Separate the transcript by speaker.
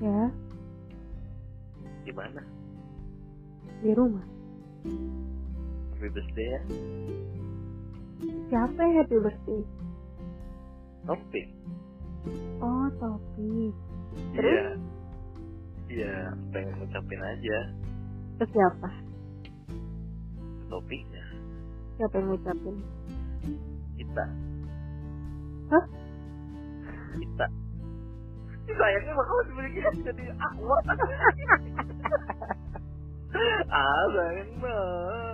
Speaker 1: Ya, Di rumah.
Speaker 2: Happy birthday ya.
Speaker 1: Siapa yang happy birthday?
Speaker 2: Topik.
Speaker 1: Oh, Topi. Terus?
Speaker 2: Iya. Iya, pengen ngucapin aja
Speaker 1: Ke siapa?
Speaker 2: ke topiknya.
Speaker 1: Siapa yang ngucapin?
Speaker 2: Kita.
Speaker 1: Hah?
Speaker 2: Kita. Ini sayangnya bakal sebenarnya jadi awkward. ah, sayang banget.